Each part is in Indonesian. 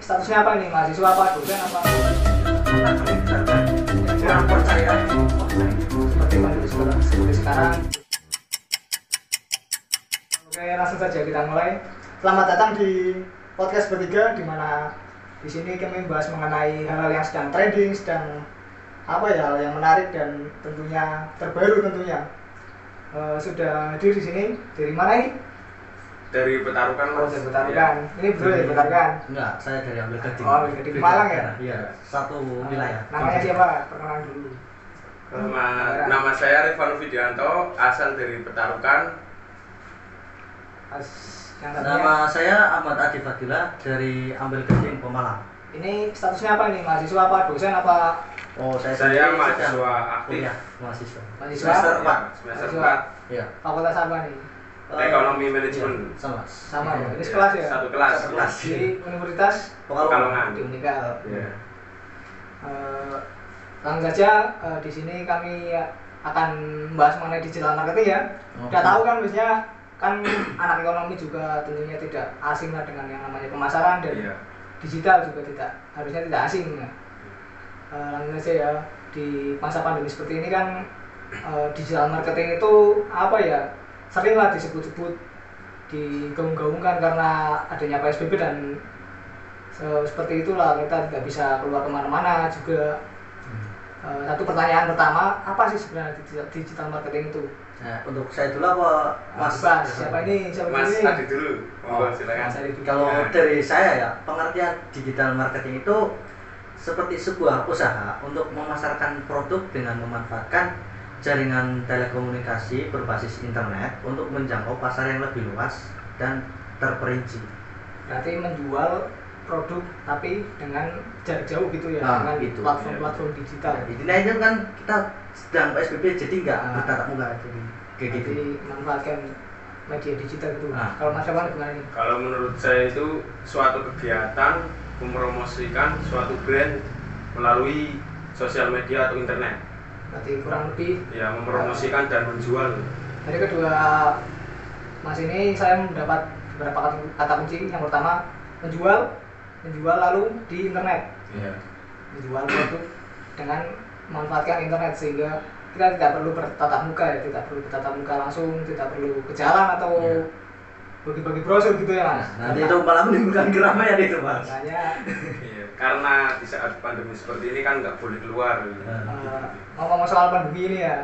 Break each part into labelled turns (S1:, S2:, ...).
S1: statusnya apa nih mahasiswa apa dosen apa
S2: kurang percaya
S1: seperti mahasiswa sekarang- seperti sekarang oke langsung saja kita mulai selamat datang di podcast bertiga di mana di sini kami membahas mengenai hal-hal yang sedang trending sedang apa ya hal yang menarik dan tentunya terbaru tentunya Eh, sudah hadir di sini dari mana ini?
S2: dari petarukan
S1: Oh,
S2: Iya.
S1: dari Petarukan. Ini betul dari Petarukan.
S3: Enggak, saya dari Ambil
S1: ya,
S3: Gading.
S1: Oh, Ambil Gading. Malang ya?
S3: Iya, satu wilayah.
S1: Namanya siapa? Perkenalan dulu.
S2: nama nama saya Rifan Widianto asal dari petarukan
S1: As, yang ya. tadinya.
S3: Nama saya Ahmad Adi Fadila dari Ambil Gading Pemalang.
S1: Ini statusnya apa nih? Mahasiswa apa? Dosen apa?
S3: Oh, saya
S2: saya
S3: sendiri
S2: mahasiswa
S3: sedang
S2: aktif
S3: kuliah mahasiswa.
S1: Mahasiswa
S2: semester 4
S3: Mahasiswa.
S2: semester
S1: Mahasiswa.
S2: 4
S3: Iya.
S1: fakultas apa nih?
S3: Eh,
S2: ekonomi
S3: iya,
S2: manajemen
S3: sama.
S1: Sama ya. Ini
S2: Iya,
S1: sekelas ya.
S2: satu kelas
S3: Satu kelas.
S1: Di Universitas
S2: Pekalongan
S1: di Unikal.
S2: Iya.
S1: Eh, langsung saja eh, di sini kami akan membahas mengenai digital marketing ya. Udah tahu kan biasanya kan anak ekonomi juga tentunya tidak asing lah dengan yang namanya pemasaran dan
S2: iya
S1: digital juga tidak harusnya tidak asing ya. Eh, langsung aja ya di masa pandemi seperti ini kan eh, digital marketing itu apa ya seringlah disebut-sebut digaung-gaungkan karena adanya psbb dan se- seperti itulah kita tidak bisa keluar kemana-mana juga
S3: Hmm.
S1: Eh, satu pertanyaan pertama apa sih sebenarnya digital- digital marketing itu
S3: Nah, untuk saya dulu apa Mas?
S1: Bas, Nah, siapa ini siapa
S2: Mas
S1: ini
S2: Adi dulu monggo
S3: Oh,
S1: Mas
S2: silakan
S1: Adi dulu.
S3: Kalau
S2: Iya.
S3: dari saya ya, pengertian digital marketing itu seperti sebuah usaha untuk memasarkan produk dengan memanfaatkan jaringan telekomunikasi berbasis internet untuk menjangkau pasar yang lebih luas dan terperinci.
S1: berarti menjual produk tapi dengan jarak jauh gitu ya
S3: Nah,
S1: dengan
S3: gitu,
S1: platform-platform digital
S3: Nah, di lainnya kan kita sedang PSBB jadi nggak
S1: Ah.
S3: bertatap muka jadi kayak gitu.
S1: jadi manfaatkan media digital gitu
S3: Nah.
S1: kalau mas Revan gimana nih
S2: kalau menurut saya itu suatu kegiatan mempromosikan suatu brand melalui sosial media atau internet
S1: berarti kurang lebih
S2: ya mempromosikan dan menjual
S1: dari kedua mas ini saya mendapat beberapa kata- kata kunci yang pertama menjual menjual lalu di internet
S2: iya
S1: menjual produk dengan memanfaatkan internet sehingga kita tidak perlu bertatap muka ya tidak perlu bertatap muka langsung tidak perlu ke jalan atau
S3: Iya.
S1: bagi-bagi brosur gitu ya mas
S3: Nah, Nanti itu malah menimbulkan keramaian itu mas.
S1: makanya
S2: Iya, karena di saat pandemi seperti ini kan nggak boleh keluar. gitu.
S1: eh, ngomong soal pandemi ini ya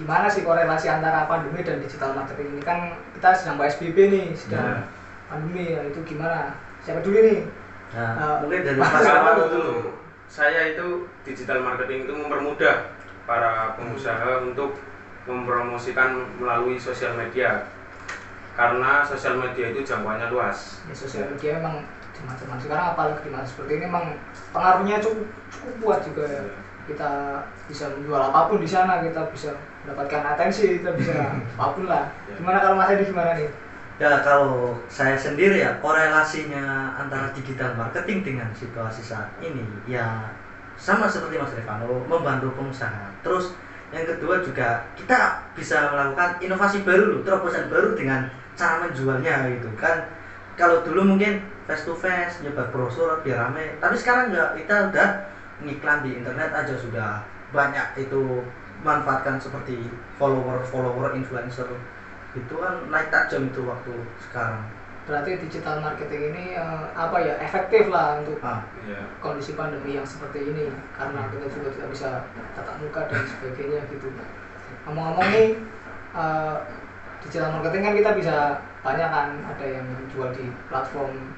S1: gimana sih korelasi antara pandemi dan digital marketing ini kan kita sedang PSBB nih sedang
S3: Iya.
S1: pandemi ya itu gimana siapa dulu nih Ah.
S3: Nah, mungkin dari
S1: Mas
S3: mas
S2: Kalau
S3: Rahmat dulu.
S2: saya itu digital marketing itu mempermudah para pengusaha untuk mempromosikan melalui sosial media karena sosial media itu jangkauannya luas.
S1: ya, sosial media memang teman-teman sekarang apalagi di masa seperti ini memang pengaruhnya cukup, cukup kuat juga ya
S2: Iya.
S1: kita bisa menjual apapun di sana kita bisa mendapatkan atensi kita bisa apapun lah
S2: Ya.
S1: gimana kalau mas Edi gimana nih
S3: Ya kalau saya sendiri ya korelasinya antara digital marketing dengan situasi saat ini ya sama seperti Mas Revano membantu pengusaha. Terus yang kedua juga kita bisa melakukan inovasi baru, terobosan baru dengan cara menjualnya gitu kan. Kalau dulu mungkin face to face nyebar brosur biar rame, tapi sekarang enggak kita udah ngiklan di internet aja sudah banyak itu manfaatkan seperti follower follower influencer itu kan naik tajam itu waktu sekarang
S1: berarti digital marketing ini eh, apa ya efektif lah untuk
S3: ah
S2: Iya.
S1: kondisi pandemi yang seperti ini karena kita juga tidak bisa tatap muka dan sebagainya gitu ngomong-ngomong nih eh, digital marketing kan kita bisa banyak kan ada yang jual di platform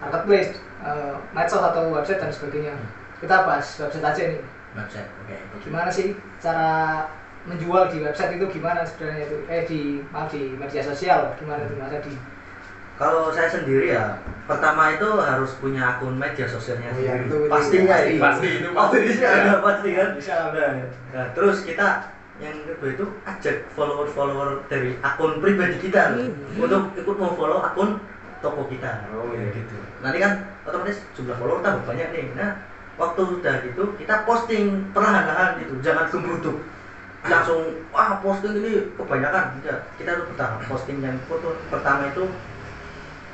S1: marketplace eh, medsos atau website dan sebagainya kita bahas website aja nih
S3: website oke
S1: gimana sih cara menjual di website itu gimana sebenarnya itu eh di maaf di media sosial gimana itu mas di
S3: kalau saya sendiri ya pertama itu harus punya akun media sosialnya
S1: Oh, iya,
S3: sendiri.
S1: itu- itu-
S3: pasti
S1: itu-
S3: pasti
S2: pasti, iya. itu pasti.
S3: pasti ada, pasti kan
S1: bisa
S3: nah, terus kita yang kedua itu ajak follower-follower dari akun pribadi kita
S1: Hmm.
S3: untuk ikut memfollow akun toko kita
S2: Oh, iya.
S3: gitu nanti kan otomatis jumlah follower tambah banyak nih nah waktu udah gitu kita posting perlahan-lahan gitu jangan gemuruh langsung wah posting ini kebanyakan tidak kita tuh bertahap posting yang foto pertama itu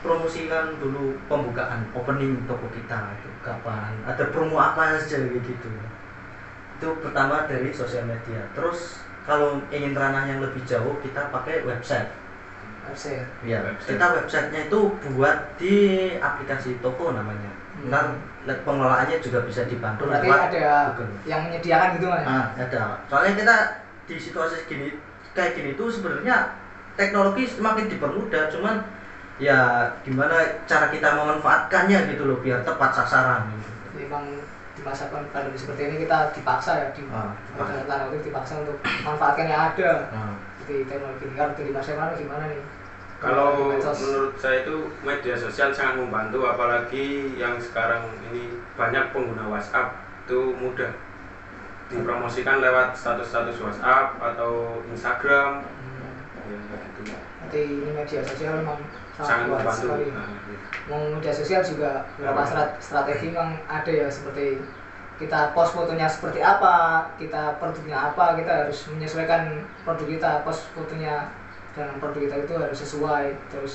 S3: promosikan dulu pembukaan opening toko kita itu kapan ada promo apa aja kayak gitu itu pertama dari sosial media terus kalau ingin ranah yang lebih jauh kita pakai website
S1: website
S3: ya
S2: Website.
S3: kita websitenya itu buat di aplikasi toko namanya
S1: Hmm.
S3: ntar le- pengelolaannya juga bisa dibantu
S1: berarti
S3: lewat
S1: ada
S3: Google.
S1: yang menyediakan gitu mas
S3: Ah, ada. Soalnya kita di situasi gini kayak gini tuh sebenarnya teknologi semakin dipermudah, cuman ya gimana cara kita memanfaatkannya gitu loh biar tepat sasaran gitu.
S1: Jadi memang di masa pandemi seperti ini kita dipaksa ya di
S3: Ah, dipaksa.
S1: dalam tanda kutip dipaksa untuk manfaatkan yang ada
S3: Nah,
S1: di teknologi ini kalau dari mas Hermano gimana nih
S2: Kalau
S1: Medsos.
S2: menurut saya itu media sosial sangat membantu apalagi yang sekarang ini banyak pengguna WhatsApp itu mudah dipromosikan lewat status-status WhatsApp atau Instagram
S1: Hmm.
S2: ya, kayak gitu.
S1: Berarti ini media sosial memang
S2: sangat
S1: sangat kuat
S2: membantu.
S1: sekali
S2: Nah, gitu.
S1: Mau media sosial juga
S3: Iya.
S1: beberapa strat- strategi memang ada ya seperti kita post fotonya seperti apa, kita produknya apa, kita harus menyesuaikan produk kita, post fotonya dengan produk kita itu harus sesuai. Terus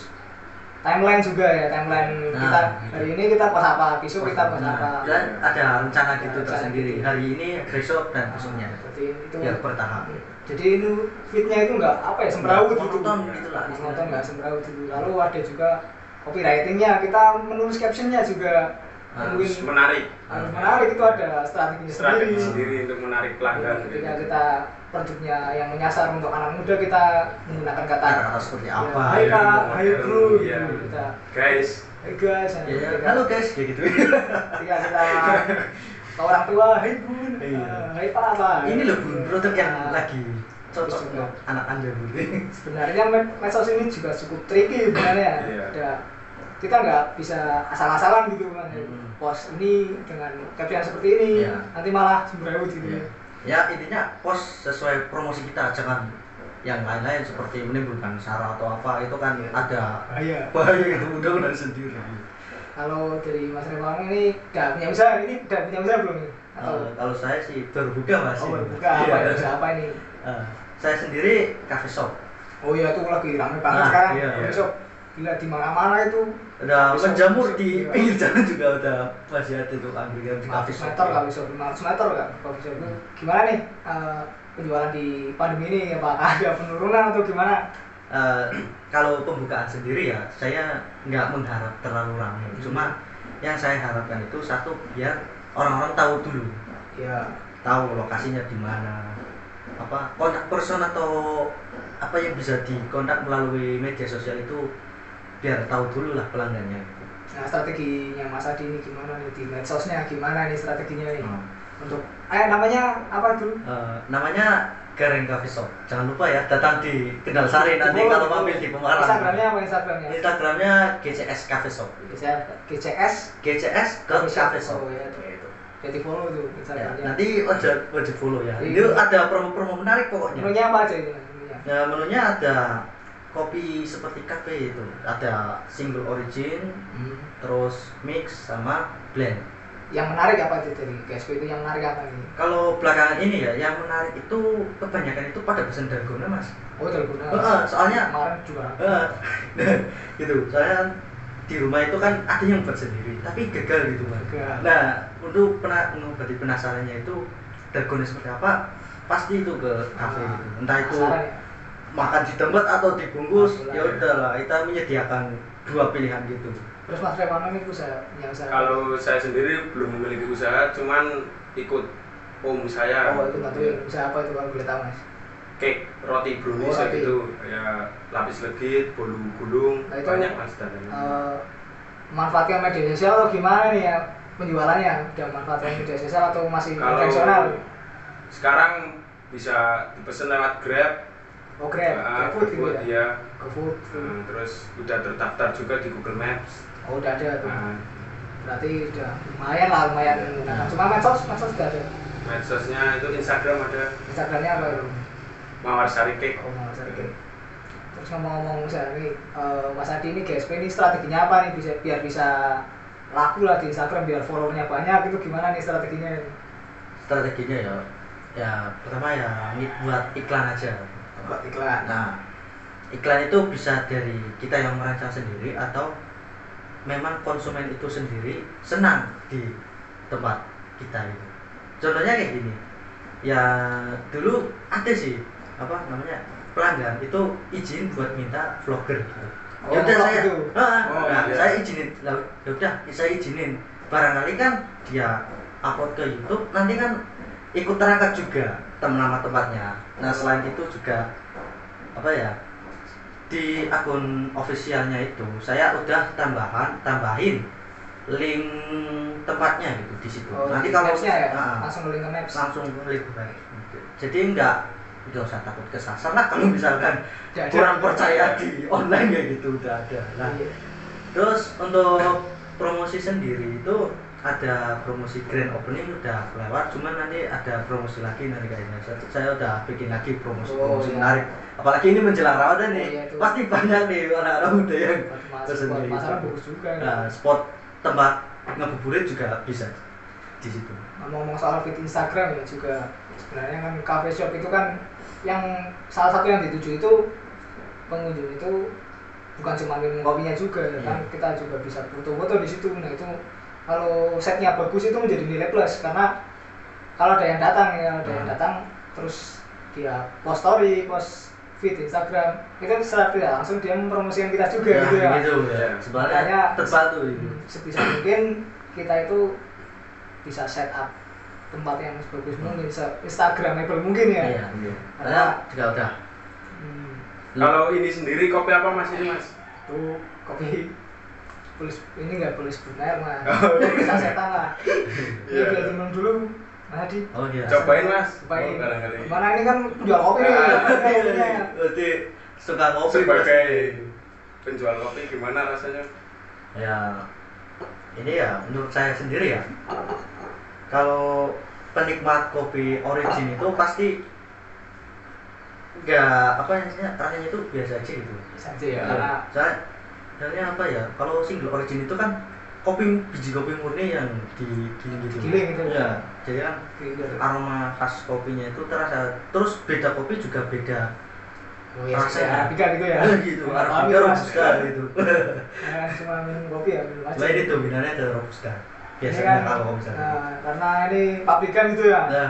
S1: timeline juga ya, timeline
S3: Nah,
S1: kita
S3: gitu.
S1: hari ini kita post apa, besok kita post
S3: nah,
S1: apa.
S3: dan ada rencana
S1: Ada
S3: gitu
S1: rencana
S3: tersendiri.
S1: gitu.
S3: Hari ini, besok dan besoknya.
S1: Berarti Nah, itu
S3: Biar bertahap.
S1: jadi itu fitnya itu nggak apa ya semrawut
S3: Nggak
S1: gitu.
S3: monoton gitu lah.
S1: Mas Nonton nggak semrawut dulu. Lalu ada juga copywritingnya, kita menulis captionnya juga
S3: Harus
S1: mungkin
S2: menarik
S1: harus menarik itu ada strateginya
S2: strategi
S1: sendiri.
S2: sendiri untuk menarik
S1: Jadi,
S2: pelanggan.
S1: Ketika
S2: gitu.
S1: kita produknya yang menyasar untuk anak muda kita menggunakan kata
S3: Kata-kata seperti apa?
S1: Hai
S2: ya,
S1: kak, hai
S2: modern,
S1: bro, gitu.
S2: ya.
S1: kita
S2: Guys,
S1: hey guys, nah,
S3: Ya,
S1: ketika-
S3: halo guys, kayak gitu.
S1: ketika kita ke orang tua, hai bun,
S3: Iya.
S1: eh, hai pak apa?
S3: ini loh bun, produk yang
S1: Nah,
S3: lagi cocok
S1: Terus juga.
S3: buat anak anda bun.
S1: Iya. sebenarnya med- medsos ini juga cukup tricky sebenarnya
S2: Iya.
S1: ada kita nggak bisa asal-asalan gitu kan
S3: Hmm.
S1: post ini dengan caption seperti ini
S3: Iya.
S1: nanti malah semrawut gitu
S3: Iya. ya intinya post sesuai promosi kita jangan yang lain-lain seperti menimbulkan sara atau apa itu kan ada
S1: Ah, iya
S3: bahaya itu undang-undang sendiri
S1: kalau dari Mas Rewang ini udah punya usaha ini udah punya usaha belum nih atau
S3: Eh, kalau saya sih baru buka masih
S1: oh, baru buka apa
S3: Iya.
S1: ya usaha apa ini
S3: Eh, saya sendiri cafe shop
S1: oh iya itu lagi rame banget
S3: Ah,
S1: sekarang
S3: iya.
S1: besok gila di mana-mana itu
S3: udah
S1: Coffee shop, Iya.
S3: menjamur
S1: coffee
S3: di
S1: shop.
S3: pinggir jalan juga udah masih ada tuh angkringan di cafe
S1: 500
S3: shop
S1: meter kalau bisa 500 meter kan kalau bisa itu gimana nih eh, penjualan di pandemi ini apakah ada penurunan atau gimana
S3: Eh, kalau pembukaan sendiri ya saya nggak mengharap terlalu ramai cuma yang saya harapkan itu satu biar orang-orang tahu dulu
S1: ya
S3: tahu lokasinya di mana apa kontak person atau apa yang bisa dikontak melalui media sosial itu biar tahu dulu lah pelanggannya
S1: Nah strateginya Mas Adi ini gimana nih di medsosnya gimana nih strateginya nih
S3: Hmm.
S1: untuk eh namanya apa dulu?
S3: Eh, namanya Gareng Coffee Shop jangan lupa ya datang di Kendal Sari nanti
S1: Oh,
S3: kalau mampir di
S1: Instagramnya
S3: Pemarang
S1: apa Instagramnya?
S3: Instagramnya GCS Coffee Shop
S1: Bisa GCS
S3: GCS dot Coffee Shop
S1: Oh, ya.
S3: Gitu.
S1: jadi follow tuh
S3: Ya,
S1: Instagramnya.
S3: nanti wajib wajib follow ya
S1: Iya.
S3: itu ada promo-promo menarik pokoknya
S1: Menunya apa aja itu? menunya?
S3: Nah, menunya ada kopi seperti kafe itu. Ada single origin, terus mix sama blend.
S1: Hmm. Yang menarik apa itu dari GSP itu yang menarik apa nih?
S3: Kalau belakangan ini ya, yang menarik itu kebanyakan itu pada pesan dalgona mas.
S1: Oh telepon
S3: Heeh, soalnya,
S1: kemarin juga.
S3: heeh. gitu. Soalnya di rumah itu kan ada yang buat sendiri, tapi gagal gitu mas.
S1: Gagal.
S3: Nah, untuk pena mengobati penasarannya itu dalgona seperti apa, pasti itu ke kafe
S1: Ah,
S3: gitu. Entah itu
S1: penasaran ya?
S3: makan di tempat atau dibungkus
S1: Masalah.
S3: ya udahlah kita menyediakan dua pilihan gitu
S1: Terus Mas Revano ini usaha punya usaha.
S2: kalau saya sendiri belum memiliki usaha, cuman ikut om saya
S1: oh itu bantuin usaha apa itu kalau boleh tahu Mas?
S2: cake roti brownies
S1: Oh, roti.
S2: gitu ya lapis legit bolu gulung
S1: Nah, itu,
S2: banyak mas datangnya
S1: eh, manfaatkan media sosial atau gimana nih ya penjualannya udah manfaatkan media sosial atau masih konvensional
S2: kalau sekarang bisa dipesan lewat grab
S1: oh grab Hmm.
S2: ah,
S1: GoFood gitu
S2: GoFood,
S1: ya
S2: iya.
S1: GoFood
S2: Nah, terus udah terdaftar juga di Google Maps
S1: oh udah ada tuh
S2: nah,
S1: berarti udah lumayan lah lumayan menggunakan cuma medsos medsos udah ada
S2: medsosnya itu Instagram ada
S1: instagramnya apa itu
S2: Mawarsari Cake
S1: oh mas Adi terus ngomong-ngomong usaha ini eh, mas Adi ini GSP ini strateginya apa nih bisa biar bisa laku lah di Instagram biar followernya banyak itu gimana nih strateginya ini?
S3: strateginya ya ya pertama ya ini buat iklan aja
S1: buat iklan
S3: nah iklan itu bisa dari kita yang merancang sendiri atau memang konsumen itu sendiri senang di tempat kita gitu. Contohnya kayak gini, ya dulu ada sih apa namanya pelanggan itu izin buat minta vlogger gitu.
S1: Oh,
S3: ya udah
S1: vlog
S3: saya,
S1: itu.
S3: Ah,
S2: Oh,
S3: nah,
S2: iya.
S3: saya izinin, lah ya udah saya izinin. Barangkali kan dia upload ke YouTube, nanti kan ikut terangkat juga tem- nama tempatnya. Nah selain itu juga apa ya di akun ofisialnya itu saya udah tambahan tambahin link tempatnya gitu di situ.
S1: Oh,
S3: nanti
S1: di
S3: kalau
S1: maps-nya ya
S3: Ah,
S1: langsung link ke maps
S3: langsung link Jadi enggak enggak usah takut kesasar lah kalau misalkan
S1: Jadi-
S3: kurang percaya di online kayak gitu udah ada. Nah,
S1: Iya.
S3: Terus untuk promosi sendiri itu ada promosi grand opening udah lewat, cuman nanti ada promosi lagi nanti kayaknya. Saya, saya udah bikin lagi
S1: Oh,
S3: promosi-promosi
S1: iya.
S3: menarik. Apalagi ini menjelang Ramadan nih,
S1: Oh, iya, itu.
S3: pasti banyak nih orang-orang udah yang
S1: Buat mas-
S3: tersendiri.
S1: buat masalah bagus juga ya.
S3: Nah, spot tempat ngabuburit juga bisa di situ.
S1: ngomong soal feed Instagram ya juga sebenarnya kan cafe shop itu kan yang salah satu yang dituju itu pengunjung itu bukan cuma minum kopinya juga ya kan
S3: Iya.
S1: kita juga bisa foto-foto di situ nah itu kalau setnya bagus itu menjadi nilai plus karena kalau ada yang datang ya ada yang
S3: Nah.
S1: datang terus dia post story post feed Instagram itu secara tidak langsung dia mempromosikan kita juga
S3: Nah,
S1: gitu ya
S3: gitu
S2: Iya.
S3: Sebenarnya
S1: Makanya-
S3: terbantu itu.
S1: sebisa mungkin kita itu bisa set up tempat yang sebagus mungkin se instagramable mungkin ya
S3: Iya. Karena
S1: karena
S3: juga udah
S1: hmm,
S2: Kalau ini sendiri kopi apa mas ini mas?
S1: itu kopi tulis ini nggak tulis benar mas bisa setan lah ini
S2: Oh, Iya.
S1: biar minum dulu mana di
S3: Oh iya.
S2: Cobain mas.
S1: Cobain.
S2: Oh, barangkali.
S1: mana ini kan jual kopi iya. nih
S2: Ah,
S1: kayaknya.
S3: Iya, Berarti suka
S1: Iya.
S3: ngopi
S2: Sebagai
S3: pasti.
S2: penjual kopi gimana rasanya?
S3: ya ini ya menurut saya sendiri ya kalau penikmat kopi origin itu pasti nggak apa namanya rasanya itu biasa aja gitu
S1: bisa aja ya karena
S3: saya soalnya apa ya kalau single origin itu kan kopi biji kopi murni yang digiling gitu
S1: Digiling gitu.
S3: ya jadi kan
S1: grinder
S2: Ah,
S3: aroma khas kopinya itu terasa terus beda kopi juga beda
S1: oh ya
S3: Rasa-
S1: kayak
S2: ah,
S1: arabica gitu ya
S2: iya,
S3: gitu
S1: Nggak paham
S3: arabica
S1: ya, Mas.
S3: robusta gitu
S1: Jangan cuma minum kopi ya minum aja
S3: Nah, ini dominannya ada robusta
S1: Ini
S2: Iya,
S3: biasanya
S1: kan,
S3: kalau misalnya
S1: nah, karena ini pabrikan gitu ya
S3: Nah,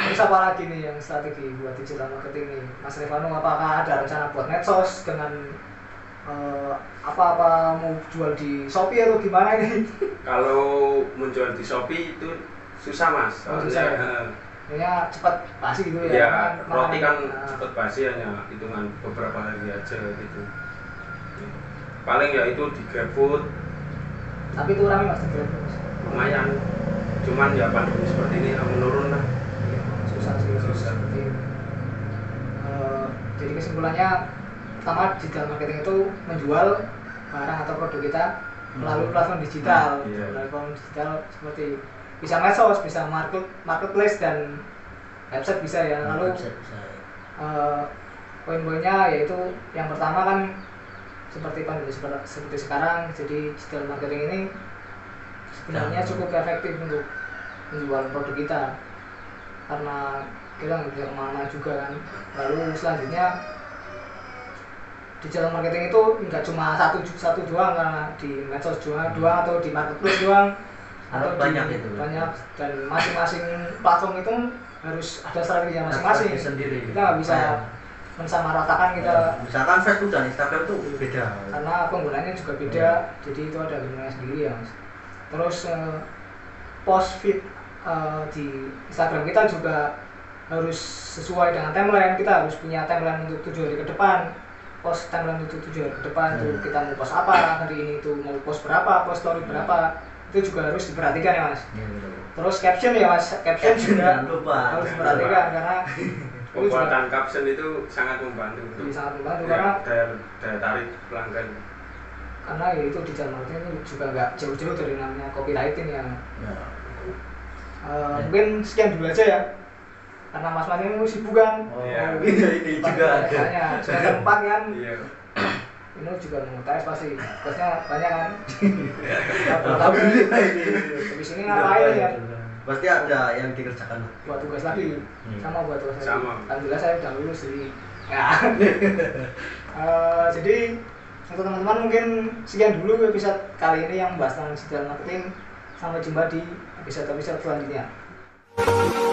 S1: Terus apa lagi nih yang strategi buat digital marketing nih? Mas Revano apakah ada rencana buat medsos dengan eh, apa-apa mau jual di Shopee atau gimana ini?
S2: Kalau menjual di Shopee itu susah mas.
S1: Oh, susah ya?
S2: Soalnya, eh,
S1: Kayaknya cepat pasti gitu ya.
S2: Ya,
S1: Kan,
S2: roti kan
S1: nah,
S2: cepet basi hanya hitungan beberapa hari aja gitu. Paling ya itu di GrabFood
S1: Tapi itu rame Mas di Grab, Mas.
S2: lumayan. Cuman ya pandemi seperti ini ya menurun lah.
S1: Iya, susah sih
S2: Susah.
S1: Jadi, eh, jadi kesimpulannya pertama digital marketing itu menjual barang atau produk kita melalui
S3: Hmm.
S1: platform digital, melalui
S2: Iya.
S1: platform digital seperti bisa medsos, bisa market marketplace dan website bisa ya. Lalu
S3: bisa- bisa.
S1: eh, poin-poinnya yaitu yang pertama kan seperti pandemi seper- seperti sekarang jadi digital marketing ini sebenarnya
S3: Jangan.
S1: cukup efektif untuk menjual produk kita karena kita nggak bisa kemana juga kan lalu selanjutnya digital marketing itu nggak cuma satu ju- satu doang karena di medsos doang, doang atau di marketplace doang
S3: Harus
S1: di-
S3: Hmm. banyak itu.
S1: banyak dan masing-masing platform itu harus ada strateginya
S3: Harus
S1: masing-masing
S3: pergi sendiri.
S1: kita gitu. nggak bisa
S3: Nah,
S1: mensamaratakan kita
S3: misalkan Facebook dan Instagram tuh beda.
S1: karena penggunanya juga beda jadi itu ada gunanya sendiri ya mas terus eh, post feed eh, di Instagram kita juga harus sesuai dengan timeline kita harus punya timeline untuk tujuh hari ke depan post timeline untuk tujuh hari ke depan
S3: Hmm.
S1: tuh kita mau post apa hari ini itu mau post berapa post story berapa itu juga harus diperhatikan ya mas
S3: Ini loh.
S1: terus caption ya mas caption Nah,
S3: Jangan
S1: juga
S3: lupa.
S1: harus
S2: Jangan
S1: diperhatikan karena Itu juga-
S2: Pembuatan kapsul itu sangat membantu
S1: jadi
S2: untuk
S1: sangat membantu
S3: Iya.
S1: karena
S2: ya, daya, daya tarik pelanggan.
S1: karena ya itu di dalam marketing itu juga nggak jauh-jauh dari namanya copywriting yang
S3: Nah, Iya.
S1: eh, mungkin sekian dulu aja ya karena mas mas ini sibuk kan
S3: oh,
S2: Iya.
S3: ini, ini juga ada.
S1: Tanya, sudah ada empat kan
S2: Iya.
S1: ini juga mau tes pasti tesnya banyak kan
S3: Iya.
S1: tapi
S3: Alhamdulillah ini.
S1: habis ini
S3: Udah
S1: ngapain ya
S3: banyak. Pasti ada yang dikerjakan lah.
S1: buat tugas lagi
S3: Iya.
S1: sama buat tugas lagi
S2: Sama.
S1: alhamdulillah saya udah lulus jadi ya Eh, jadi Untuk teman-teman mungkin sekian dulu episode kali ini yang membahas tentang digital marketing. Sampai jumpa di episode-episode selanjutnya.